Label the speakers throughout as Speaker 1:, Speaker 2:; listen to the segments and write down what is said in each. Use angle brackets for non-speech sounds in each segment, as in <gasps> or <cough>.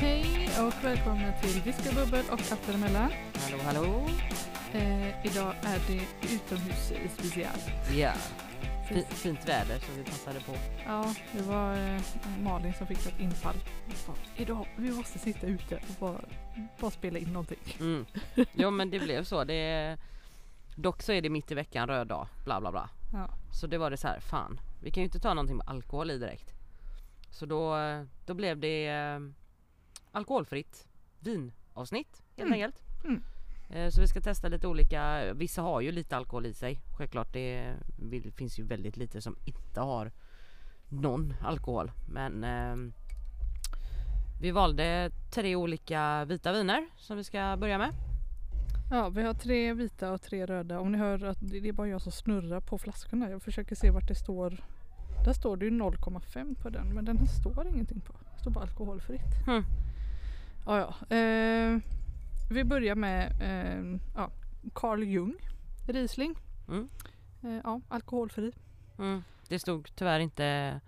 Speaker 1: Hej och välkomna till Diskabubbel och Allt däremellan.
Speaker 2: Hallå, hallå.
Speaker 1: Eh, idag är det utomhus special.
Speaker 2: Ja, Fi- fint väder så vi passade på.
Speaker 1: Ja, det var eh, Malin som fick ett infall. Bara, Idag, vi måste sitta ute och bara, bara spela in någonting.
Speaker 2: Mm. Jo, men det blev så. Det, dock så är det mitt i veckan, röd dag, bla bla bla.
Speaker 1: Ja.
Speaker 2: Så det var det så här, fan, vi kan ju inte ta någonting med alkohol i direkt. Så då, då blev det eh, alkoholfritt vinavsnitt helt
Speaker 1: Mm.
Speaker 2: enkelt.
Speaker 1: Mm.
Speaker 2: Eh, Så vi ska testa lite olika, vissa har ju lite alkohol i sig. Självklart det vill- finns ju väldigt lite som inte har någon alkohol. Men ehm, vi valde tre olika vita viner som vi ska börja med.
Speaker 1: Ja, vi har tre vita och tre röda. Om ni hör att det det är bara jag som snurrar på flaskorna. Jag försöker se vart det står. Där står det ju 0,5 på den, men den här står ingenting på. Det står bara alkoholfritt.
Speaker 2: Hmm.
Speaker 1: Ja, ja. Eh, vi börjar med eh, ja, Carl Jung Riesling.
Speaker 2: Mm.
Speaker 1: Eh, ja, alkoholfri.
Speaker 2: Mm. Det stod tyvärr inte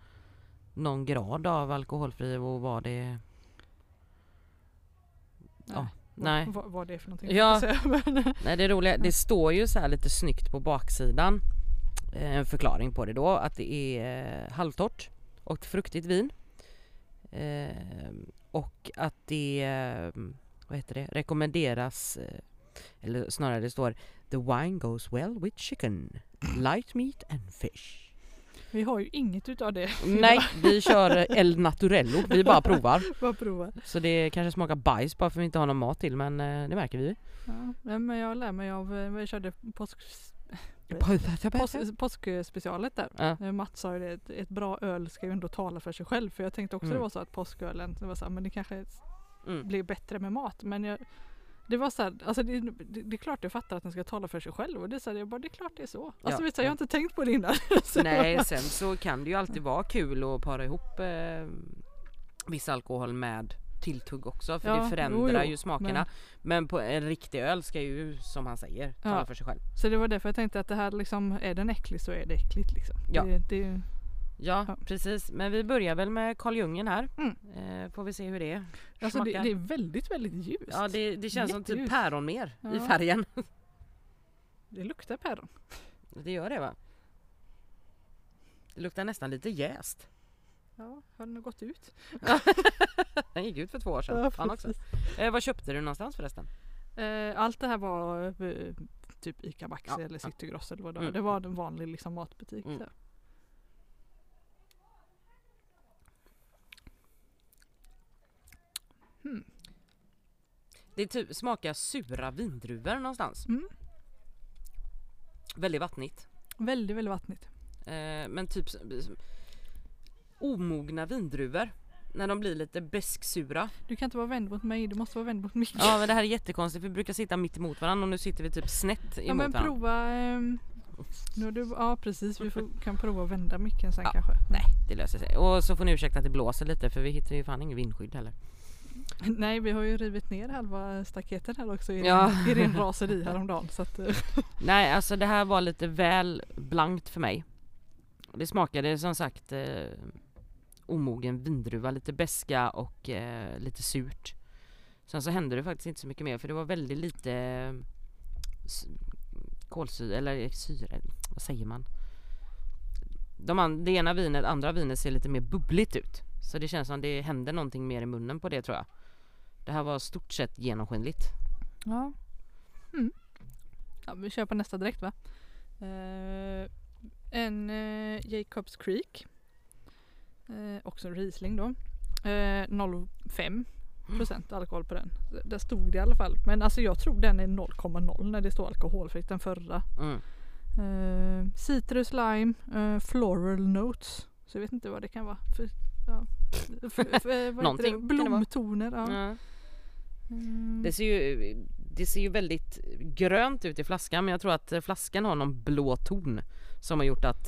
Speaker 2: någon grad av alkoholfri och vad det... Ja, nej.
Speaker 1: Vad, vad det är för någonting.
Speaker 2: Ja.
Speaker 1: Så, <laughs> men,
Speaker 2: Nej det roliga, det står ju så här lite snyggt på baksidan eh, en förklaring på det då att det är eh, halvtorrt och fruktigt vin. Eh, Och att det, eh, vad heter det, rekommenderas eh, eller snarare det står The wine goes well with chicken, light meat and fish.
Speaker 1: vi har ju inget utav det.
Speaker 2: Nej, vi kör El Naturello, vi <laughs> bara provar.
Speaker 1: Bara prova.
Speaker 2: Så det kanske smakar bajs bara för att vi inte har någon mat till men eh, det märker vi ju.
Speaker 1: Ja, nej, men jag lär mig av, eh, jag körde påsk Pås- påskspecialet där.
Speaker 2: Ja.
Speaker 1: Eh, Mats sa ju det, ett, ett bra öl ska ju ändå tala för sig själv. För jag tänkte också
Speaker 2: Mm.
Speaker 1: det var så att påskölen, det var så här, men det kanske
Speaker 2: Mm.
Speaker 1: blir bättre med mat. Men jag, det var så här, alltså det, det, det är klart jag fattar att den ska tala för sig själv. Och det sa jag bara, det är klart det är så. Alltså
Speaker 2: Ja.
Speaker 1: vet du, jag har inte tänkt på det innan. <laughs> så,
Speaker 2: Nej, sen så kan det ju alltid vara kul att para ihop eh, viss alkohol med tilltugg också för
Speaker 1: Ja,
Speaker 2: det
Speaker 1: jo,
Speaker 2: förändrar
Speaker 1: jo,
Speaker 2: ju smakerna. Men, på en riktig öl ska ju som han säger tala
Speaker 1: Ja.
Speaker 2: för sig själv.
Speaker 1: så det var därför jag tänkte att det här liksom, är den äcklig så är det äckligt liksom.
Speaker 2: Ja.
Speaker 1: Det, det,
Speaker 2: Ja,
Speaker 1: Ja.
Speaker 2: precis. Men vi börjar väl med Carl Jungen här.
Speaker 1: Mm.
Speaker 2: Eh, får vi se hur det är.
Speaker 1: alltså det,
Speaker 2: smakar.
Speaker 1: det är väldigt, väldigt ljust.
Speaker 2: Ja, det, det känns som typ
Speaker 1: Jätteljust.
Speaker 2: päron mer i
Speaker 1: Ja.
Speaker 2: färgen.
Speaker 1: det luktar päron.
Speaker 2: Det gör det va? Det luktar nästan lite jäst.
Speaker 1: Ja, har den gått ut?
Speaker 2: Den gick ut för två år sedan.
Speaker 1: Ja,
Speaker 2: Fan också. Eh, vad köpte du någonstans förresten?
Speaker 1: Eh, allt det här var eh, typ ICA Maxi
Speaker 2: Ja,
Speaker 1: eller
Speaker 2: ja.
Speaker 1: City Gross eller vad det var.
Speaker 2: Mm.
Speaker 1: Det var en vanlig liksom, matbutik.
Speaker 2: Mm.
Speaker 1: där.
Speaker 2: Det typ smakar sura vindruvor någonstans.
Speaker 1: Mm.
Speaker 2: Väldigt vattnigt.
Speaker 1: Väldigt, väldigt vattnigt.
Speaker 2: Eh, men typ s- s- omogna vindruvor. När de blir lite besksura.
Speaker 1: Du kan inte vara vänd mot mig, du måste vara vänd mot Micke.
Speaker 2: Ja men det här är jättekonstigt för vi brukar sitta mitt emot varandra och nu sitter vi typ snett emot
Speaker 1: Ja, men
Speaker 2: varandra.
Speaker 1: prova... ehm, nu har du, ja precis, vi får, kan prova att vända micken sen
Speaker 2: Ja.
Speaker 1: kanske.
Speaker 2: Nej det löser sig. Och så får ni ursäkta att det blåser lite för vi hittar ju fan ingen vindskydd heller.
Speaker 1: Nej, vi har ju rivit ner halva staketet här också i,
Speaker 2: Ja.
Speaker 1: ren- i
Speaker 2: <laughs>
Speaker 1: ren raseri häromdagen. Så att, eh,
Speaker 2: Nej alltså det här var lite väl blankt för mig. Det smakade som sagt eh, omogen vindruva, lite beska och eh, lite surt. Sen så hände det faktiskt inte så mycket mer för det var väldigt lite eh, s- kolsyra, eller syre, vad säger man? De an- det ena vinet, andra vinet ser lite mer bubbligt ut. Så det känns som det händer någonting mer i munnen på det tror jag. Det här var stort sett genomskinligt.
Speaker 1: Ja. Mm. ja vi kör på nästa direkt va? Eh, en eh, Jacobs Creek. Eh, också en Riesling då. Eh, 0,5
Speaker 2: Mm.
Speaker 1: procent alkohol på den. D- Där stod det i alla fall. Men alltså jag tror den är 0,0 när det står alkoholfritt den förra.
Speaker 2: Mm.
Speaker 1: Eh, citrus, lime, eh, floral notes. Så jag vet inte vad det kan vara. För, ja. F- f- vad heter det?
Speaker 2: Någonting kan det vara.
Speaker 1: Blomtoner. Ja.
Speaker 2: Ja.
Speaker 1: Mm.
Speaker 2: Det ser ju, det ser ju väldigt grönt ut i flaskan men jag tror att flaskan har någon blå ton som har gjort att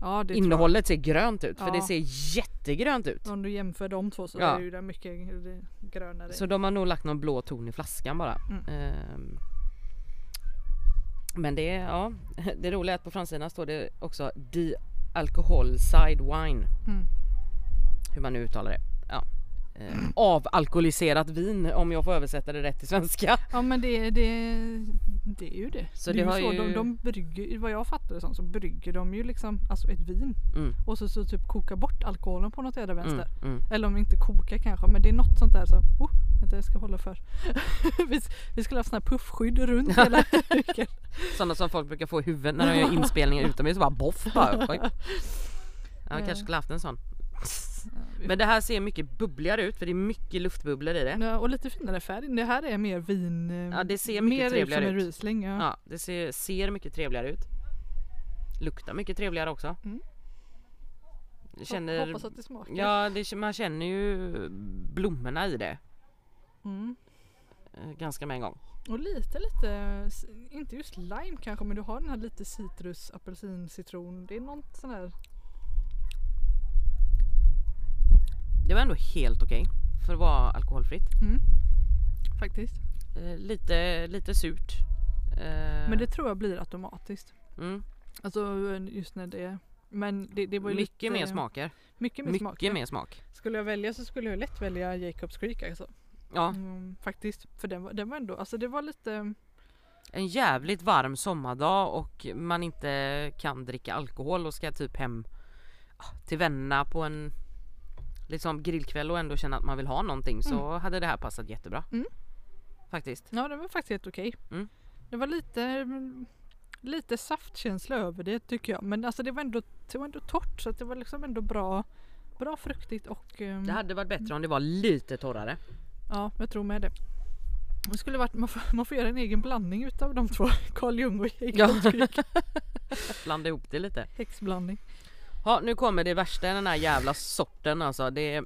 Speaker 1: ja, det tror jag.
Speaker 2: innehållet ser grönt ut för
Speaker 1: Ja.
Speaker 2: det ser jättegrönt ut.
Speaker 1: Om du jämför de två så
Speaker 2: Ja.
Speaker 1: är ju den mycket grönare.
Speaker 2: Så de har nog lagt någon blå ton i flaskan bara.
Speaker 1: Mm.
Speaker 2: Ehm, Men det är, ja, <laughs> det roliga är att på framsidan står det också The Alcohol Side Wine.
Speaker 1: Mm.
Speaker 2: Hur man nu uttalar det. Ja. Eh,
Speaker 1: Mm.
Speaker 2: avalkoholiserat vin om jag får översätta det rätt
Speaker 1: <laughs>
Speaker 2: till svenska.
Speaker 1: Ja men det, det, det är ju det.
Speaker 2: Så
Speaker 1: det
Speaker 2: det
Speaker 1: är
Speaker 2: har
Speaker 1: ju så, de,
Speaker 2: ju-
Speaker 1: de brygger, vad jag fattar det som, så brygger de ju liksom alltså ett vin
Speaker 2: Mm.
Speaker 1: och så, så typ kokar bort alkoholen på något jädra vänster.
Speaker 2: Mm, mm.
Speaker 1: Eller om inte koka kanske men det är något sånt där som, oh, vänta jag ska hålla för. <laughs> vi, vi skulle ha sådana här puffskydd runt
Speaker 2: <laughs>
Speaker 1: hela cykeln.
Speaker 2: Sådana som folk brukar få i huvudet när de gör inspelningar utomhus. Bara boff
Speaker 1: <laughs>
Speaker 2: bara. Oj. Ja, jag kanske skulle haft en sån. Men det här ser mycket bubbligare ut för det är mycket luftbubblor i det.
Speaker 1: Ja, och lite finare färg. Det här är mer vin. eh,
Speaker 2: Ja, det ser mycket
Speaker 1: mer ut som
Speaker 2: trevligare
Speaker 1: en
Speaker 2: ut.
Speaker 1: Riesling. Ja.
Speaker 2: Ja, det ser, ser mycket trevligare ut. Luktar mycket trevligare också.
Speaker 1: Mm.
Speaker 2: Jag
Speaker 1: Hop-
Speaker 2: Känner,
Speaker 1: Hoppas att det smakar.
Speaker 2: ja, det, man känner ju blommorna i det
Speaker 1: Mm.
Speaker 2: eh, ganska med en gång.
Speaker 1: Och lite lite, s- inte just lime kanske men du har den här lite citrus, apelsin, citron. Det är något sån här.
Speaker 2: Det var ändå helt okej för att vara alkoholfritt.
Speaker 1: Mm. Faktiskt.
Speaker 2: Eh, lite, lite surt. Eh,
Speaker 1: Men det tror jag blir automatiskt.
Speaker 2: mm.
Speaker 1: Alltså just när det Men det, det var ju
Speaker 2: Mycket
Speaker 1: lite,
Speaker 2: mer smaker.
Speaker 1: Mycket mer
Speaker 2: Mycket
Speaker 1: smak.
Speaker 2: mer smak.
Speaker 1: Skulle jag välja så skulle jag lätt välja Jacobs Creek alltså.
Speaker 2: Ja,
Speaker 1: Mm, faktiskt. För den var, den var ändå, alltså det var lite
Speaker 2: en jävligt varm sommardag och man inte kan dricka alkohol och ska typ hem ah, till vännerna på en liksom grillkväll och ändå känna att man vill ha någonting så hade det här passat jättebra.
Speaker 1: Mm.
Speaker 2: Faktiskt.
Speaker 1: Ja, den var faktiskt helt okej.
Speaker 2: Mm.
Speaker 1: Det var lite, lite saftkänsla över det tycker jag. Men alltså det var ändå, det var ändå torrt så att det var liksom ändå bra, bra fruktigt och ehm,
Speaker 2: Det hade varit bättre om det var lite torrare.
Speaker 1: ja, jag tror med det. Det skulle varit, man, får, man får göra en egen blandning utav de två. <laughs> Carl Jung och Jacobs Creek.
Speaker 2: <laughs>
Speaker 1: <laughs>
Speaker 2: Blanda ihop det lite.
Speaker 1: Häxblandning.
Speaker 2: Ja, nu kommer det värsta i den här jävla sorten alltså. Det,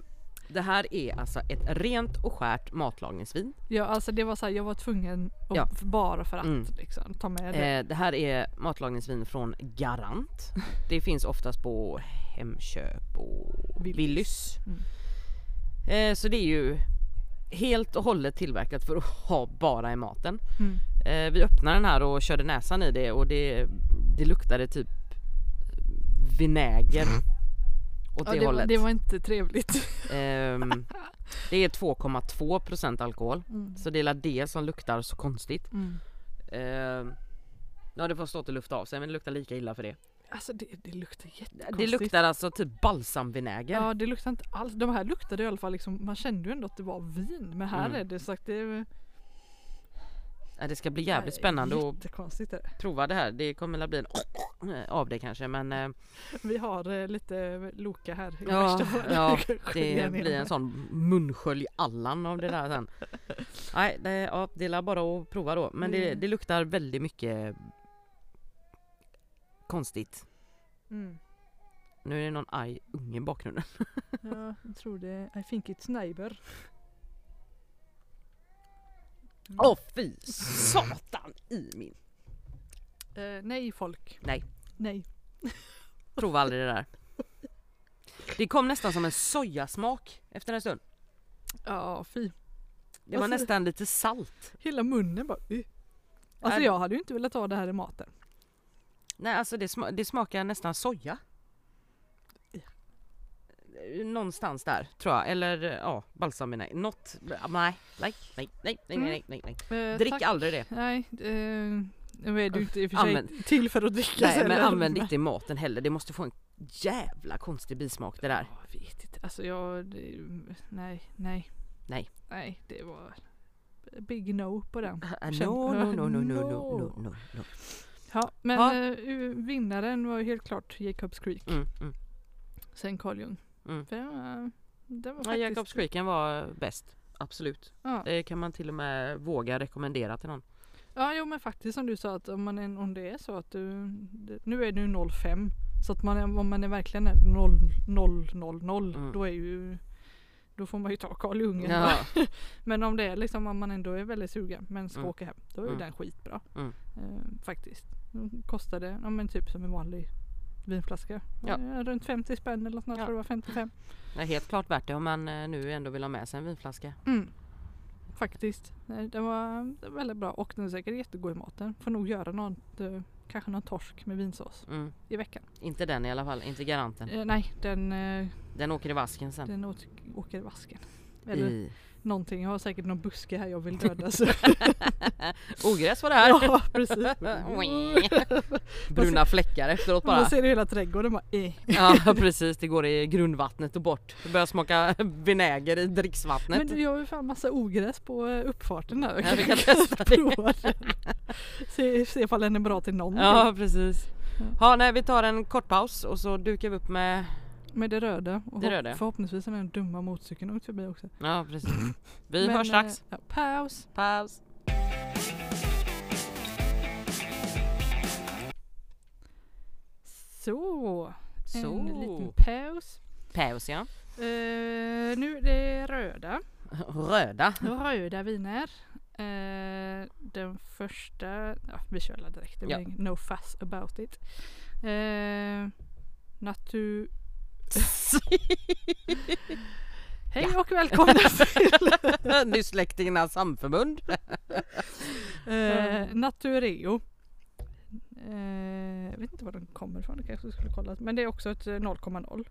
Speaker 2: det här är alltså ett rent och skärt matlagningsvin.
Speaker 1: Ja, alltså det var så här, jag var tvungen att,
Speaker 2: Ja.
Speaker 1: bara för att
Speaker 2: Mm.
Speaker 1: liksom, ta med det.
Speaker 2: Eh, det här är matlagningsvin från Garant.
Speaker 1: <laughs>
Speaker 2: Det finns oftast på Hemköp och
Speaker 1: Willys.
Speaker 2: Willys.
Speaker 1: Mm.
Speaker 2: Eh, så det är ju helt och hållet tillverkat för att ha bara i maten.
Speaker 1: Mm.
Speaker 2: Eh, vi öppnade den här och körde näsan i det och det, det luktade typ
Speaker 1: <laughs>
Speaker 2: vinäger. Åt
Speaker 1: Ja, det,
Speaker 2: det,
Speaker 1: var,
Speaker 2: hållet.
Speaker 1: det var inte trevligt. <laughs>
Speaker 2: Ehm, det är 2,2% alkohol.
Speaker 1: Mm.
Speaker 2: Så det är väl det som luktar så konstigt.
Speaker 1: Mm.
Speaker 2: Ehm, nu har det fått stått och lufta av sig men det luktar lika illa för det.
Speaker 1: Alltså det, det luktar jättekonstigt.
Speaker 2: Det luktar alltså typ balsamvinäger.
Speaker 1: Ja det luktar inte alls. De här luktade i alla fall liksom, man kände ju ändå att det var vin. Men här
Speaker 2: Mm.
Speaker 1: är det sagt, det är
Speaker 2: Ja. Det ska bli jävligt spännande att
Speaker 1: Jättekonstigt är det.
Speaker 2: prova det här. Det kommer att bli en <sniffs> av det kanske
Speaker 1: <laughs>
Speaker 2: men eh,
Speaker 1: Vi har eh, lite Loka här i
Speaker 2: Ja,
Speaker 1: värsta fall. <laughs>
Speaker 2: ja,
Speaker 1: Skölja ner
Speaker 2: det blir en
Speaker 1: det.
Speaker 2: sån munskölj Allan av det där
Speaker 1: <laughs>
Speaker 2: sen. Nej, det, ja, det är bara att prova då. Men det,
Speaker 1: Mm.
Speaker 2: det luktar väldigt mycket konstigt.
Speaker 1: Mm.
Speaker 2: Nu är det någon arg unge i bakgrunden.
Speaker 1: Ja, jag tror det. I think it's neighbor. Mm.
Speaker 2: Åh fy satan i min.
Speaker 1: Eh, nej folk.
Speaker 2: Nej.
Speaker 1: Nej.
Speaker 2: Prova aldrig det där. Det kom nästan som en sojasmak efter en stund.
Speaker 1: Ja fy.
Speaker 2: Det var
Speaker 1: Alltså-
Speaker 2: nästan lite salt.
Speaker 1: Hela munnen bara. Uh. Alltså
Speaker 2: Nej.
Speaker 1: jag hade ju inte velat ha det här i maten.
Speaker 2: Nej alltså det, sma- det smakar nästan soja. Någonstans där tror jag. Eller ja, balsaminäger. Något. Nej, nej, nej, nej, nej, nej, nej, nej.
Speaker 1: Eh,
Speaker 2: Drick
Speaker 1: tack.
Speaker 2: aldrig <laughs> det.
Speaker 1: Nej. Eh, nu är du inte i och för sig
Speaker 2: Använd-
Speaker 1: till för att dricka
Speaker 2: Nej men
Speaker 1: heller.
Speaker 2: använd inte i maten heller. Det måste få en jävla konstig bismak det där.
Speaker 1: Jag vet inte. Alltså jag... Det, nej, nej.
Speaker 2: Nej.
Speaker 1: Nej, det var... Big no på den.
Speaker 2: Ah, No, no, no, no, no, no, no, no. no.
Speaker 1: Ja, men
Speaker 2: Ja.
Speaker 1: eh, vinnaren var ju helt klart Jacobs Creek.
Speaker 2: Mm, mm.
Speaker 1: Sen Carl Jung.
Speaker 2: Mm.
Speaker 1: För den var, den var
Speaker 2: Ja,
Speaker 1: faktiskt...
Speaker 2: Jacobs Creeken var bäst. Absolut.
Speaker 1: Ja.
Speaker 2: Det kan man till och med våga rekommendera till någon.
Speaker 1: ja, jo men faktiskt som du sa att om, man är, om det är så att du... Det, nu är det ju 05. Så att man, är- om man är verkligen är 0, 0, 0, 0
Speaker 2: Mm.
Speaker 1: då är ju... Då får man ju ta Carl Jung. ändå. <laughs>
Speaker 2: Ja.
Speaker 1: Men om det är liksom om man ändå är väldigt sugen men ska
Speaker 2: Mm.
Speaker 1: åka hem. Då är ju
Speaker 2: Mm.
Speaker 1: den skitbra.
Speaker 2: Mm.
Speaker 1: Eh, faktiskt. Den kostade ja, men typ som en vanlig vinflaska.
Speaker 2: Ja.
Speaker 1: Eh, runt 50 spänn eller något sånt.
Speaker 2: Ja.
Speaker 1: Jag tror det var 55.
Speaker 2: Det är helt klart värt det om man eh, nu ändå vill ha med sig en vinflaska.
Speaker 1: Mm. Faktiskt. Nej, Den var den var väldigt bra och den är säkert jättegod i maten. Får nog göra något, eh, kanske någon torsk med vinsås
Speaker 2: Mm.
Speaker 1: i veckan.
Speaker 2: Inte den i alla fall, inte garanten.
Speaker 1: Eh, nej, den, eh,
Speaker 2: Den åker i vasken sen.
Speaker 1: den åt, åker i vasken. Eller
Speaker 2: I... <laughs>
Speaker 1: någonting, jag har säkert någon buske här jag vill döda. Så.
Speaker 2: Ogräs var det här!
Speaker 1: <laughs> ja,
Speaker 2: <laughs>
Speaker 1: precis. <laughs>
Speaker 2: Bruna fläckar efteråt
Speaker 1: Man
Speaker 2: bara.
Speaker 1: ser du hela trädgården bara eh.
Speaker 2: Ja precis, det går i grundvattnet och bort. Det börjar smaka <laughs> vinäger i dricksvattnet.
Speaker 1: Men du, jag har ju fan massa ogräs på eh, uppfarten där.
Speaker 2: Ja,
Speaker 1: <laughs>
Speaker 2: vi kan testa det.
Speaker 1: Prova den. <laughs> Se, se ifall den är bra till någonting.
Speaker 2: Ja precis.
Speaker 1: Ja.
Speaker 2: Ja, nej, vi tar en kort paus och så dukar vi upp med...
Speaker 1: Med det röda. Och
Speaker 2: Det
Speaker 1: hopp-
Speaker 2: röda.
Speaker 1: Förhoppningsvis har den dumma motorcykeln åkt förbi också.
Speaker 2: Ja precis. Vi
Speaker 1: Men,
Speaker 2: hörs strax.
Speaker 1: eh, Ja, paus.
Speaker 2: Paus.
Speaker 1: Så,
Speaker 2: Så.
Speaker 1: en liten paus.
Speaker 2: Paus ja.
Speaker 1: Eh, nu är det röda.
Speaker 2: Röda.
Speaker 1: Röda viner. Eh, den första, ja, vi kör alla direkt. Det blir
Speaker 2: Ja.
Speaker 1: ingen- no fuss about it. Eh, natu... Hej och
Speaker 2: <laughs>
Speaker 1: välkomna till
Speaker 2: Dyslektikernas samförbund.
Speaker 1: eh, Natureo. Eh, jag vet inte var den kommer ifrån, det kanske skulle kollat. Men det är också ett eh, 0,0.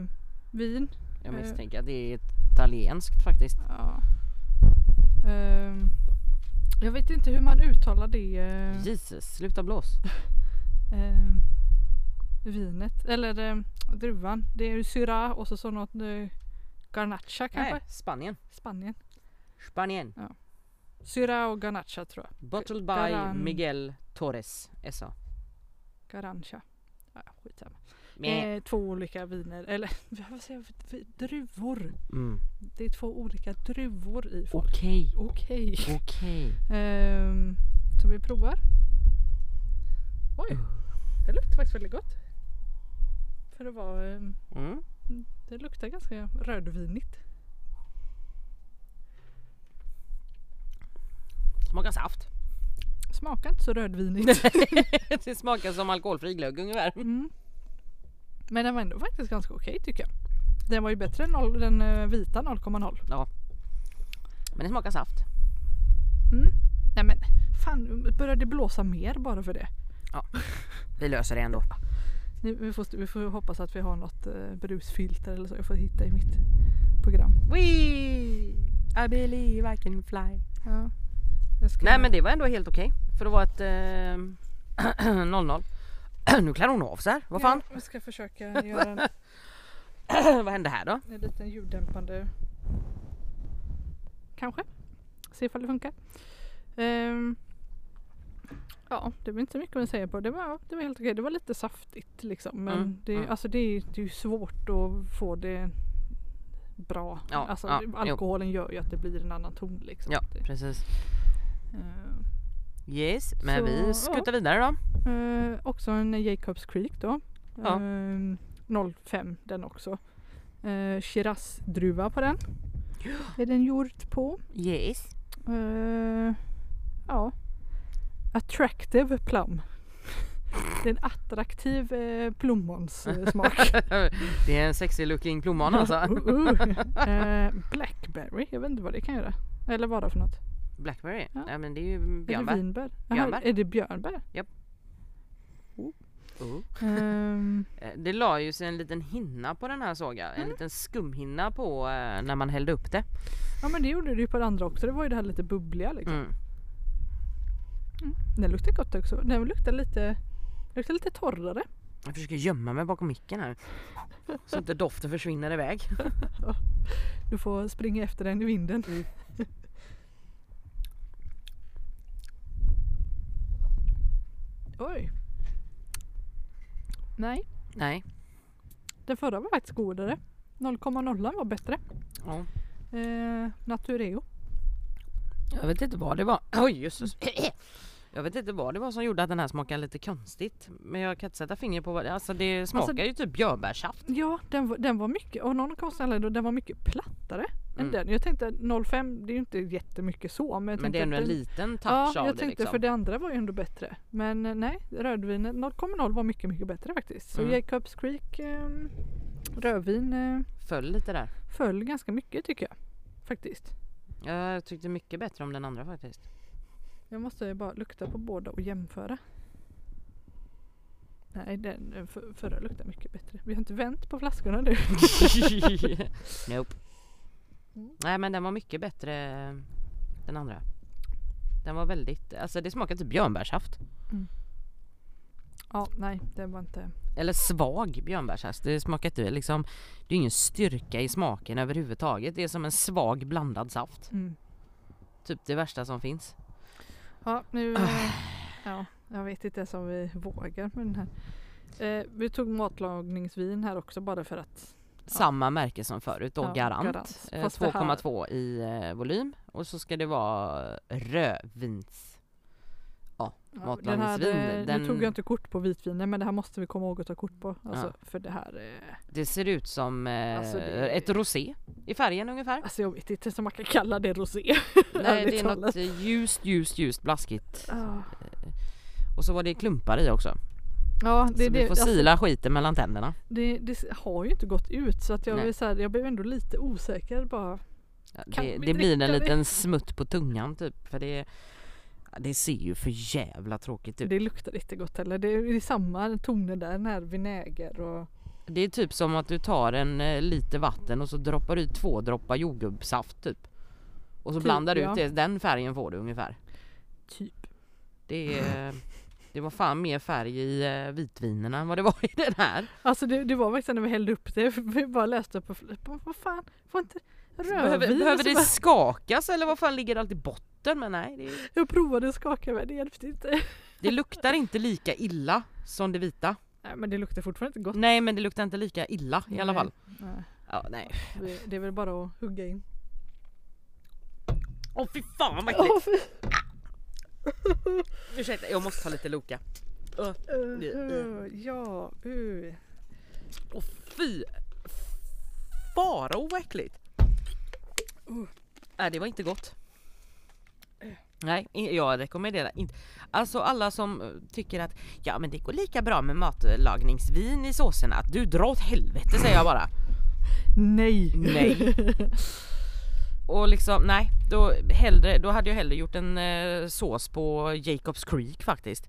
Speaker 1: Eh, vin.
Speaker 2: Jag
Speaker 1: Eh.
Speaker 2: misstänker att det är italienskt faktiskt.
Speaker 1: Ja. Ehm, jag vet inte hur man uttalar det eh,
Speaker 2: Jesus, sluta blås.
Speaker 1: ehm, vinet, eller eh, druvan. Det är ju Syrah och så, så något eh, Garnacha kanske?
Speaker 2: Nej, Spanien.
Speaker 1: Spanien.
Speaker 2: Spanien.
Speaker 1: Syrah och Garnacha tror jag.
Speaker 2: Bottled by
Speaker 1: Garan.
Speaker 2: Miguel Torres SA.
Speaker 1: Garancha. Ja, skitsamma.
Speaker 2: Meh.
Speaker 1: Eh, två olika viner, eller <laughs> vad säger jag, för- för- druvor.
Speaker 2: Mm.
Speaker 1: Det är två olika druvor i folk.
Speaker 2: Okej,
Speaker 1: Okej.
Speaker 2: okej.
Speaker 1: Ehm, så vi provar. Oj, det luktar faktiskt väldigt gott. För det var, ehm,
Speaker 2: Mm.
Speaker 1: det luktar ganska rödvinigt.
Speaker 2: Smakar saft. <laughs>
Speaker 1: Smakar inte så rödvinigt.
Speaker 2: det smakar som alkoholfri glögg ungefär.
Speaker 1: Mm. Men den var ändå faktiskt ganska okej tycker jag. Den var ju bättre än noll, den eh, vita 0,0.
Speaker 2: Men det smakar saft.
Speaker 1: Mm. Nej men fan, börjar det blåsa mer bara för det?
Speaker 2: Vi löser det ändå.
Speaker 1: Nu, vi, får, vi får hoppas att vi har något eh, brusfilter eller så jag får hitta i mitt program.
Speaker 2: We, I believe I can fly.
Speaker 1: Ja. Jag ska-
Speaker 2: Nej men det var ändå helt okej för att vara ett eh, <clears throat> 00. nu klär hon av sig här, vad fan? <clears throat>
Speaker 1: Ja, jag ska försöka göra <laughs> en
Speaker 2: vad hände här då?
Speaker 1: En liten ljuddämpande... Kanske. Se ifall det funkar. Ehm, ja, det var inte så mycket man säger på. Det var, det var helt okej. Det var lite saftigt liksom. Men
Speaker 2: Mm,
Speaker 1: det,
Speaker 2: mm.
Speaker 1: Alltså, det, är- det är ju svårt att få det bra.
Speaker 2: Ja,
Speaker 1: alltså,
Speaker 2: ja,
Speaker 1: det-
Speaker 2: jo.
Speaker 1: alkoholen gör ju att det blir en annan ton liksom.
Speaker 2: Ja
Speaker 1: Det-
Speaker 2: precis.
Speaker 1: Ehm,
Speaker 2: Yes, men
Speaker 1: Så, ja.
Speaker 2: vi skuttar vidare då.
Speaker 1: Eh, också en Jacobs Creek då.
Speaker 2: Ja.
Speaker 1: Ehm, 05 den också. Eh, Shiraz-druva på
Speaker 2: <gasps>
Speaker 1: den. Är den gjord på.
Speaker 2: Yes.
Speaker 1: Eh, ja. Attractive
Speaker 2: <laughs>
Speaker 1: plum. Det är en attraktiv eh,
Speaker 2: <laughs>
Speaker 1: plommonsmak.
Speaker 2: <laughs> det är en sexy looking plommon alltså.
Speaker 1: Uh, uh. Eh, blackberry, jag vet inte vad det kan göra. Eller vad det är för något.
Speaker 2: Blackberry,
Speaker 1: Ja.
Speaker 2: ja. men det är ju
Speaker 1: Är det
Speaker 2: björnbär.
Speaker 1: vinbär? Jaha,
Speaker 2: Björnbär.
Speaker 1: Är det björnbär?
Speaker 2: Oh.
Speaker 1: Ehm,
Speaker 2: Eh, Det la ju sig en liten hinna på den här såg jag.
Speaker 1: Mm.
Speaker 2: En liten skumhinna på eh, när man hällde upp det.
Speaker 1: ja men det gjorde det ju på det andra också. Det var ju det här lite bubbliga liksom.
Speaker 2: Mm.
Speaker 1: Den luktar gott också. Den luktar lite, luktar lite torrare.
Speaker 2: Jag försöker gömma mig bakom micken här. Så inte doften försvinner iväg.
Speaker 1: Du får springa efter den i vinden.
Speaker 2: Mm.
Speaker 1: <laughs> Oj. Nej,
Speaker 2: Nej.
Speaker 1: den förra var faktiskt godare. 0,0 var bättre.
Speaker 2: Ja.
Speaker 1: Eh, Natureo.
Speaker 2: Jag vet inte vad det var. <clears throat> Oj
Speaker 1: <clears throat>
Speaker 2: jösses. Jag vet inte vad det var som gjorde att den här smakade lite konstigt. Men jag kan inte sätta finger på vad det Alltså det smakar ju typ björnbärssaft.
Speaker 1: Ja, den var, den var mycket, av någon konstig anledning, den var mycket plattare än
Speaker 2: Mm.
Speaker 1: den. Jag tänkte att 0,5 det är ju inte jättemycket så. Men, jag
Speaker 2: Men
Speaker 1: tänkte
Speaker 2: det är
Speaker 1: att
Speaker 2: ändå en
Speaker 1: den-
Speaker 2: liten touch
Speaker 1: ja,
Speaker 2: av
Speaker 1: jag
Speaker 2: det
Speaker 1: tänkte
Speaker 2: liksom.
Speaker 1: för det andra var ju ändå bättre. Men eh, nej, rödvinet 0,0 var mycket, mycket bättre faktiskt. Så
Speaker 2: Mm.
Speaker 1: Jacobs Creek eh, rödvin eh,
Speaker 2: Föll lite där.
Speaker 1: föll ganska mycket tycker jag. faktiskt.
Speaker 2: Jag tyckte mycket bättre om den andra faktiskt.
Speaker 1: <laughs> Jag måste bara lukta på båda och jämföra. Nej, den den för, förra luktar mycket bättre. Vi har inte vänt på flaskorna nu.
Speaker 2: nope.
Speaker 1: Mm.
Speaker 2: Nej men den var mycket bättre eh, den andra. Den var väldigt, alltså det smakade typ björnbärssaft.
Speaker 1: Ja, nej, det var inte...
Speaker 2: Eller svag björnbärssaft. Det smakade inte liksom, det är ingen styrka i smaken överhuvudtaget. Det är som en svag blandad saft.
Speaker 1: Mm.
Speaker 2: Typ det värsta som finns.
Speaker 1: Ja, nu...
Speaker 2: Ah.
Speaker 1: eh, Ja, jag vet inte ens om vi vågar med den här. Eh, vi tog matlagningsvin här också bara för att
Speaker 2: Samma märke som förut då,
Speaker 1: Ja,
Speaker 2: Garant.
Speaker 1: Garant.
Speaker 2: Eh,
Speaker 1: Fast det här-
Speaker 2: 2,2 i eh, volym och så ska det vara rödvins.
Speaker 1: Ja, den här,
Speaker 2: Matlagningsvin,
Speaker 1: eh,
Speaker 2: den-
Speaker 1: Nu tog jag inte kort på vitviner men det här måste vi komma ihåg att ta kort på. Alltså,
Speaker 2: Ja.
Speaker 1: För det här eh, är...
Speaker 2: Det ser ut som eh,
Speaker 1: Alltså, det-
Speaker 2: ett rosé i
Speaker 1: <laughs>
Speaker 2: färgen ungefär.
Speaker 1: Alltså jag vet inte om man kan kalla det rosé. <laughs>
Speaker 2: Nej det
Speaker 1: ärligt
Speaker 2: är något
Speaker 1: talat.
Speaker 2: eh, ljust, ljust, ljust blaskigt.
Speaker 1: Ah.
Speaker 2: Och så var det klumpar i också.
Speaker 1: Ja, det,
Speaker 2: så vi
Speaker 1: det,
Speaker 2: får
Speaker 1: alltså,
Speaker 2: sila skiten mellan tänderna.
Speaker 1: det, det har ju inte gått ut så att jag,
Speaker 2: Nej.
Speaker 1: vill säga, jag blev ändå lite osäker bara.
Speaker 2: Ja,
Speaker 1: Kan
Speaker 2: Det,
Speaker 1: vi
Speaker 2: det blir en
Speaker 1: dricka det?
Speaker 2: liten smutt på tungan typ för det, det ser ju för jävla tråkigt ut.
Speaker 1: Det luktar inte gott heller. Det är, det är samma toner där när vinäger och...
Speaker 2: Det är typ som att du tar en eh, liter vatten och så droppar du i två droppar jordgubbssaft typ. Och så
Speaker 1: Typ,
Speaker 2: blandar du
Speaker 1: ja.
Speaker 2: ut det, den färgen får du ungefär.
Speaker 1: Typ.
Speaker 2: Det, är, <laughs> det var fan mer färg i eh, vitvinerna än vad det var i den här.
Speaker 1: Alltså det, det var verkligen när vi hällde upp det. <laughs> Vi bara läste på flippen. Vad fan, får inte rödvin?
Speaker 2: Behöver,
Speaker 1: Och så
Speaker 2: behöver det
Speaker 1: bara-
Speaker 2: skakas eller vad fan ligger det alltid i botten? Men nej, det,
Speaker 1: Jag provade att skaka men det hjälpte inte.
Speaker 2: det luktar inte lika illa som det vita.
Speaker 1: Nej men det luktar fortfarande inte gott.
Speaker 2: Nej men det luktar inte lika illa i alla
Speaker 1: Nej.
Speaker 2: fall.
Speaker 1: Nej.
Speaker 2: Ja, nej.
Speaker 1: Vi- Det är väl bara att hugga in.
Speaker 2: Åh fy fan vad äckligt! Ursäkta jag måste ta lite Loka. Åh
Speaker 1: Eh, ja, uh.
Speaker 2: åh, fy! Farao vad äckligt!
Speaker 1: Uh.
Speaker 2: Nej det var inte gott. Nej i- jag rekommenderar inte. Alltså alla som eh, tycker att ja men det går lika bra med matlagningsvin i såserna. Att du drar åt helvete säger jag bara.
Speaker 1: Nej!
Speaker 2: Nej. <laughs> Och liksom nej, då, hellre, då hade jag hellre gjort en eh, sås på Jacobs Creek faktiskt.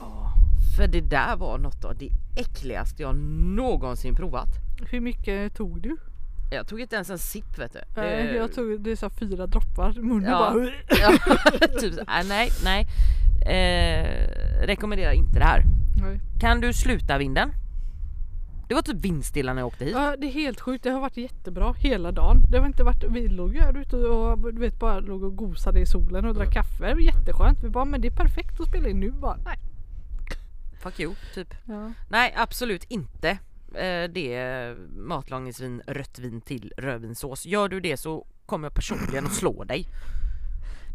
Speaker 1: Åh,
Speaker 2: För det där var något av det äckligaste jag någonsin provat.
Speaker 1: Hur mycket tog du?
Speaker 2: Eh, Jag tog inte ens en sipp vet du.
Speaker 1: Eh,
Speaker 2: Det-
Speaker 1: Jag tog det är så här fyra droppar. Munnen
Speaker 2: Ja.
Speaker 1: bara...
Speaker 2: Ja, <laughs> typ, så- nej, nej, nej. Eh, rekommenderar inte det här.
Speaker 1: Nej.
Speaker 2: Kan du sluta vinden? Det var typ vindstilla när jag åkte hit.
Speaker 1: Ja, det är helt sjukt. Det har varit jättebra hela dagen. Det har inte varit, vi låg ju här ute och du vet bara låg och gosade i solen och drack
Speaker 2: Mm.
Speaker 1: kaffe. Det var Jätteskönt. Vi bara men det är perfekt att spela in nu bara. Nej.
Speaker 2: Fuck you, typ.
Speaker 1: Ja.
Speaker 2: Nej, absolut inte. Eh, det är matlagningsvin, rött vin till rödvinssås. Gör du det så kommer jag personligen att slå dig.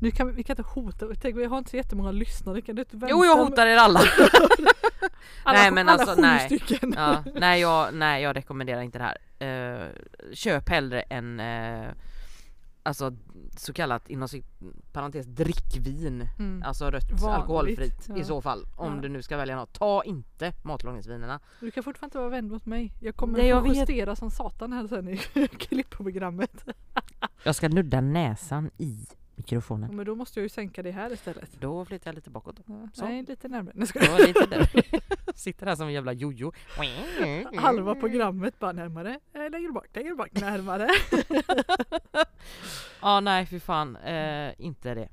Speaker 1: Nu kan vi, vi kan inte hota. Tänk, vi har inte så jättemånga lyssnare. Kan du inte vänta?
Speaker 2: Jo, jag
Speaker 1: med-
Speaker 2: hotar er alla.
Speaker 1: alla,
Speaker 2: Nej, men
Speaker 1: alla
Speaker 2: alltså,
Speaker 1: sju
Speaker 2: nej.
Speaker 1: stycken.
Speaker 2: Ja, nej, jag, nej, jag rekommenderar inte det här. Eh, köp hellre en eh, alltså så kallat inom cit- parentes drickvin.
Speaker 1: Mm.
Speaker 2: Alltså rött
Speaker 1: Vanligt,
Speaker 2: alkoholfritt
Speaker 1: ja.
Speaker 2: i så fall. Om
Speaker 1: Ja.
Speaker 2: du nu ska välja något. Ta inte matlagningsvinerna.
Speaker 1: Du kan fortfarande inte vara vän mot mig. Jag kommer
Speaker 2: Nej, jag
Speaker 1: få
Speaker 2: vet.
Speaker 1: justera som satan här sen i <laughs> klippprogrammet.
Speaker 2: Jag ska nudda näsan i mikrofonen.
Speaker 1: Men då måste jag ju sänka det här istället.
Speaker 2: Då flyttar jag lite bakåt.
Speaker 1: Ja,
Speaker 2: Så.
Speaker 1: Nej, lite närmare. Nej, ska
Speaker 2: Det var lite där. <laughs> Sitter här som en jävla jojo.
Speaker 1: jag- Halva
Speaker 2: Mm.
Speaker 1: programmet bara närmare, eh, längre bak, längre bak, närmare.
Speaker 2: Ja nej fy fan, eh, inte
Speaker 1: Mm.
Speaker 2: det.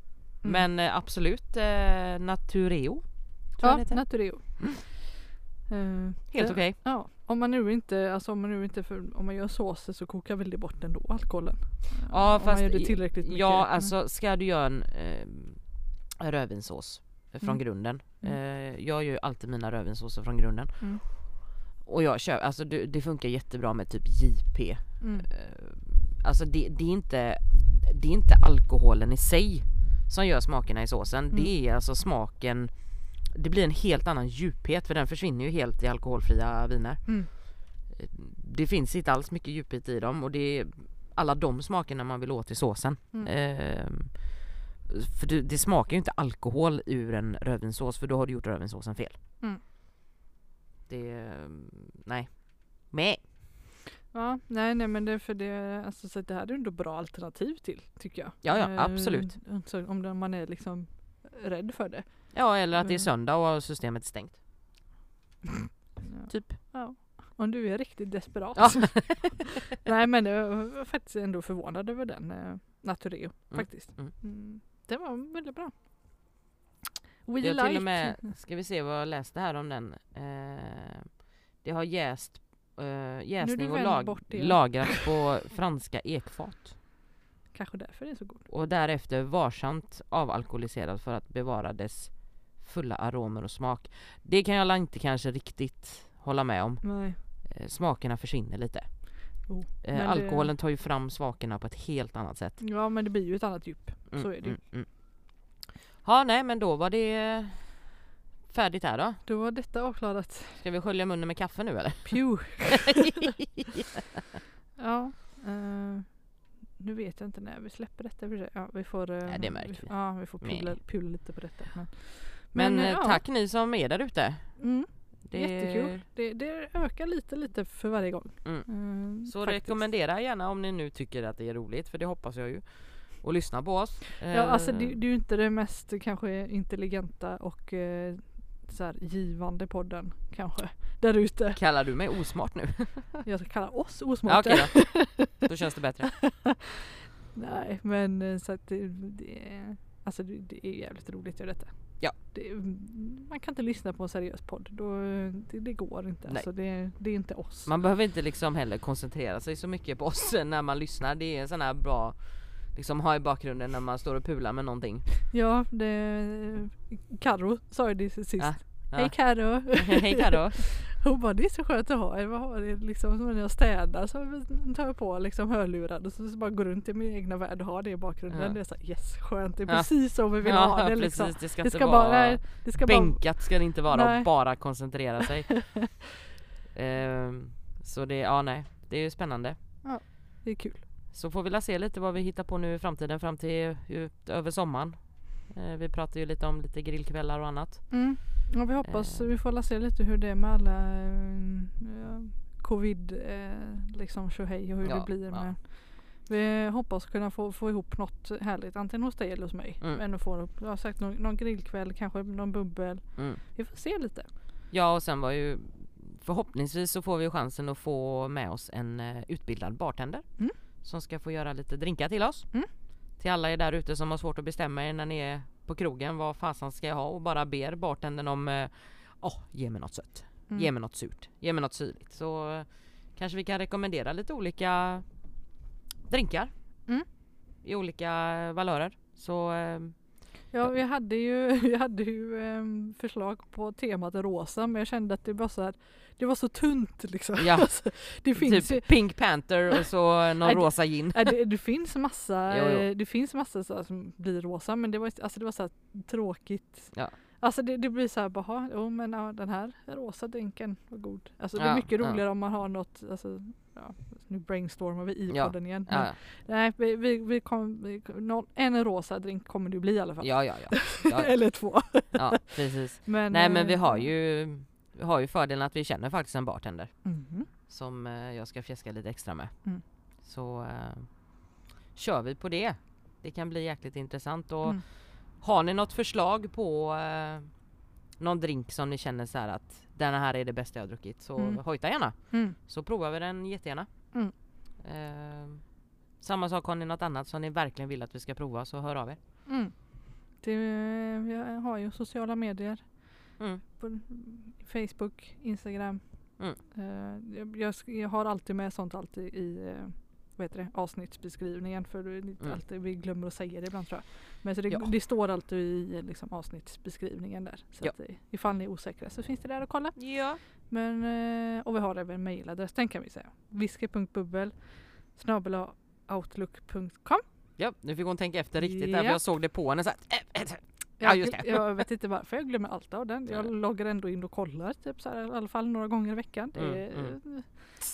Speaker 2: Men eh, absolut eh, Natureo. tror jag det
Speaker 1: ja,
Speaker 2: heter.
Speaker 1: Natureo. Eh,
Speaker 2: Helt
Speaker 1: det-
Speaker 2: okej.
Speaker 1: Ja, om man nu inte, alltså om man nu inte, för, om man gör såser så kokar väl det bort ändå alkoholen?
Speaker 2: Ja,
Speaker 1: om
Speaker 2: fast
Speaker 1: man gör det
Speaker 2: i-
Speaker 1: tillräckligt mycket.
Speaker 2: Ja
Speaker 1: Mm.
Speaker 2: alltså ska du göra en eh, rödvinssås från
Speaker 1: Mm.
Speaker 2: grunden. Eh, jag gör ju alltid mina rödvinssåser från grunden.
Speaker 1: Mm.
Speaker 2: Och jag kör, alltså det, det funkar jättebra med typ JP.
Speaker 1: Mm.
Speaker 2: Alltså det, det, är inte, det är inte alkoholen i sig som gör smakerna i såsen.
Speaker 1: Mm.
Speaker 2: Det är alltså smaken, det blir en helt annan djuphet för den försvinner ju helt i alkoholfria viner.
Speaker 1: Mm.
Speaker 2: Det finns inte alls mycket djuphet i dem och det är alla de smakerna man vill åt i såsen.
Speaker 1: Mm.
Speaker 2: Ehm, för det, det smakar ju inte alkohol ur en rödvinssås för då har du gjort rödvinssåsen fel.
Speaker 1: Mm.
Speaker 2: Det, nej. Nej.
Speaker 1: Ja, nej, nej men det är för det, alltså, så att det här är ändå bra alternativ till tycker jag.
Speaker 2: Ja, ja,
Speaker 1: Eh,
Speaker 2: absolut.
Speaker 1: alltså, om det- man är liksom rädd för det.
Speaker 2: Ja eller att det är
Speaker 1: Mm.
Speaker 2: söndag och systemet är stängt.
Speaker 1: Ja.
Speaker 2: Typ.
Speaker 1: Om du är riktigt desperat.
Speaker 2: Ja.
Speaker 1: <laughs> nej men jag var faktiskt ändå förvånad över den eh, Natureo faktiskt.
Speaker 2: mm.
Speaker 1: Mm. Den var väldigt bra. We
Speaker 2: Jag har till
Speaker 1: like.
Speaker 2: och med, <laughs> ska vi se vad jag läste här om den. Eh, det har jäst, eh, jäsning och
Speaker 1: vänd
Speaker 2: lag,
Speaker 1: bort det.
Speaker 2: lagrat på franska ekfat.
Speaker 1: Kanske därför den är så god.
Speaker 2: Och därefter varsamt avalkoholiserad för att bevara dess fulla aromer och smak. Det kan jag inte kanske riktigt hålla med om.
Speaker 1: Nej.
Speaker 2: Eh, smakerna försvinner lite.
Speaker 1: Oh, men det-
Speaker 2: eh, alkoholen tar ju fram smakerna på ett helt annat sätt.
Speaker 1: Ja men det blir ju ett annat djup. Så är det ju.
Speaker 2: mm. Ja nej men då var det färdigt här då.
Speaker 1: Då var detta avklarat.
Speaker 2: Ska vi skölja munnen med kaffe nu eller?
Speaker 1: Pew!
Speaker 2: <laughs>
Speaker 1: Ja. eh, nu vet jag inte när vi släpper detta. i och för sig. Ja, vi får, eh,
Speaker 2: Nej, det märker vi.
Speaker 1: Ja, vi får
Speaker 2: Nej.
Speaker 1: pula, pula lite på detta. Men,
Speaker 2: Men,
Speaker 1: eh,
Speaker 2: eh,
Speaker 1: ja.
Speaker 2: tack ni som är där ute.
Speaker 1: Mm,
Speaker 2: Det-
Speaker 1: Jättekul. Det, det ökar lite lite för varje gång.
Speaker 2: Mm.
Speaker 1: Eh,
Speaker 2: Så
Speaker 1: faktiskt.
Speaker 2: rekommendera gärna om ni nu tycker att det är roligt för det hoppas jag ju. Och lyssna på oss. Eh,
Speaker 1: Ja, alltså det, det är ju inte det mest kanske intelligenta och eh, så här, givande podden kanske. Där ute.
Speaker 2: Kallar du mig osmart nu?
Speaker 1: Jag kallar oss osmarta.
Speaker 2: Ja, okej
Speaker 1: <laughs>
Speaker 2: då. då känns det bättre.
Speaker 1: Nej men eh, så att det, det, är- alltså det, det är jävligt roligt att göra detta.
Speaker 2: Ja.
Speaker 1: Det, mm, man kan inte lyssna på en seriös podd. Då, det, det går inte.
Speaker 2: Nej.
Speaker 1: Alltså det, det är inte oss.
Speaker 2: Man behöver inte liksom heller koncentrera sig så mycket på oss <laughs> när man lyssnar. Det är en sån här bra liksom ha i bakgrunden när man står och pular med någonting.
Speaker 1: Ja, det, Karo sa ju det sist.
Speaker 2: Ja,
Speaker 1: <laughs>
Speaker 2: ja.
Speaker 1: Hej Karo!
Speaker 2: Hej <laughs> Carro!
Speaker 1: Hon bara det är så skönt att ha er. Vad har ni? Liksom, som när jag städar så tar jag på liksom, hörlurar och så, så bara går runt i min egna värld och har det i bakgrunden.
Speaker 2: Ja.
Speaker 1: Det är så här, yes skönt, det är
Speaker 2: Ja.
Speaker 1: precis så vi vill ha det. Liksom.
Speaker 2: precis, det ska
Speaker 1: Det
Speaker 2: inte
Speaker 1: ska
Speaker 2: vara
Speaker 1: bara, det ska bara
Speaker 2: bänkat ska det inte vara
Speaker 1: Nej.
Speaker 2: och bara
Speaker 1: <laughs>
Speaker 2: koncentrera sig. Ehm, så det, ja nej, det är ju spännande.
Speaker 1: det är kul.
Speaker 2: Så får vi la se lite vad vi hittar på nu i framtiden fram till ut över sommaren. Eh, vi pratar ju lite om lite grillkvällar och annat.
Speaker 1: Mm. Ja, vi hoppas,
Speaker 2: Eh.
Speaker 1: vi får la se lite hur det är med alla eh, ja, covid eh, liksom tjohej och hur det
Speaker 2: Ja,
Speaker 1: blir.
Speaker 2: ja.
Speaker 1: Med. Vi hoppas kunna få, få ihop något härligt antingen hos dig eller hos mig.
Speaker 2: Mm.
Speaker 1: Men att få, jag har sagt någon, någon grillkväll, kanske någon bubbel.
Speaker 2: Mm.
Speaker 1: Vi får se lite.
Speaker 2: Ja och sen var ju förhoppningsvis så får vi ju chansen att få med oss en eh, utbildad bartender
Speaker 1: Mm.
Speaker 2: som ska få göra lite drinkar till oss.
Speaker 1: Mm.
Speaker 2: Till alla er där ute som har svårt att bestämma er när ni är på krogen vad fasen ska jag ha och bara ber bartendern om eh, åh ge mig något sött,
Speaker 1: Mm.
Speaker 2: ge mig något surt, ge mig något syrligt. Så eh, kanske vi kan rekommendera lite olika drinkar
Speaker 1: Mm.
Speaker 2: i olika valörer. Så eh,
Speaker 1: Ja, vi hade ju, <laughs> vi hade ju ehm, förslag på temat rosa men jag kände att det var så här, det var så tunt liksom.
Speaker 2: Ja.
Speaker 1: <laughs> Alltså, det finns ju,
Speaker 2: typ Pink Panther
Speaker 1: <laughs>
Speaker 2: och så någon
Speaker 1: Nej, det-
Speaker 2: rosa gin.
Speaker 1: Ja, det, det finns massa,
Speaker 2: <laughs> Jo, jo.
Speaker 1: eh, Det finns massa så här som blir rosa men det var, alltså det var så här tråkigt.
Speaker 2: Ja.
Speaker 1: Alltså det, det blir så här, bara, jo men ja, den här rosa drinken var god. Alltså det är
Speaker 2: Ja,
Speaker 1: mycket
Speaker 2: ja.
Speaker 1: roligare om man har något, alltså, ja, nu brainstormar vi i
Speaker 2: Ja,
Speaker 1: podden igen. men-
Speaker 2: Ja,
Speaker 1: Nej, vi, vi, vi kom, vi, kom- någon, en rosa drink kommer det bli i alla fall.
Speaker 2: ja, ja, ja, ja,
Speaker 1: <laughs> Eller två.
Speaker 2: ja precis.
Speaker 1: <laughs> Men,
Speaker 2: Nej men
Speaker 1: eh,
Speaker 2: vi har ju, vi har ju fördelen att vi känner faktiskt en bartender
Speaker 1: mhm.
Speaker 2: som eh, jag ska fjäska lite extra med.
Speaker 1: Mm.
Speaker 2: Så eh, kör vi på det. Det kan bli jäkligt intressant och
Speaker 1: Mm.
Speaker 2: har ni något förslag på eh, någon drink som ni känner så här att den här är det bästa jag har druckit så
Speaker 1: Mm.
Speaker 2: hojta gärna
Speaker 1: Mm.
Speaker 2: så provar vi den jättegärna.
Speaker 1: Mm.
Speaker 2: Eh, samma sak har ni något annat som ni verkligen vill att vi ska prova så hör av er.
Speaker 1: Mm. Det, jag har ju sociala medier.
Speaker 2: Mm.
Speaker 1: På Facebook, Instagram.
Speaker 2: Mm.
Speaker 1: Eh, jag, jag, sk- jag har alltid med sånt alltid i eh, vad heter det, avsnittsbeskrivningen. För det är inte
Speaker 2: Mm.
Speaker 1: alltid, vi glömmer att säga det ibland tror jag. Men så det,
Speaker 2: Ja.
Speaker 1: det står alltid i eh, liksom, avsnittsbeskrivningen där. Så
Speaker 2: Ja.
Speaker 1: att, eh, ifall ni är osäkra så finns det där att kolla.
Speaker 2: Ja.
Speaker 1: Men, eh, och vi har även mejladress, den kan vi säga. Viske.bubbel snabel-a outlook.com
Speaker 2: ja, nu fick hon tänka efter riktigt där
Speaker 1: Ja.
Speaker 2: för jag såg det på henne
Speaker 1: <laughs>
Speaker 2: så här, eh, eh, Ja,
Speaker 1: Jag,
Speaker 2: just det.
Speaker 1: jag vet inte varför jag glömmer allt av
Speaker 2: <laughs>
Speaker 1: den. Jag
Speaker 2: Nej.
Speaker 1: loggar ändå in och kollar typ så här, i alla fall några gånger i veckan. Det
Speaker 2: Mm,
Speaker 1: är,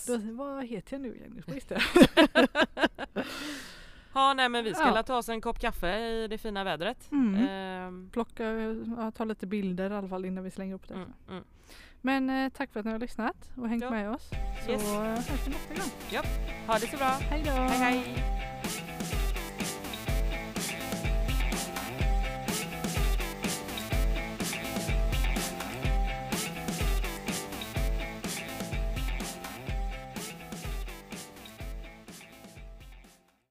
Speaker 1: Då, vad heter jag nu igen? Nu ska vi se.
Speaker 2: <laughs> Ja nej men vi ska
Speaker 1: Ja.
Speaker 2: la ta oss en kopp kaffe i det fina vädret.
Speaker 1: Mm.
Speaker 2: Ehm,
Speaker 1: Plocka, ja, ta lite bilder i alla fall innan vi slänger upp det.
Speaker 2: mm, mm.
Speaker 1: Men eh, tack för att ni har lyssnat och hängt
Speaker 2: Ja.
Speaker 1: med oss. Så
Speaker 2: Yes.
Speaker 1: eh, hörs vi nästa gång.
Speaker 2: Ha det så bra.
Speaker 1: Hej då!
Speaker 2: Hej hej!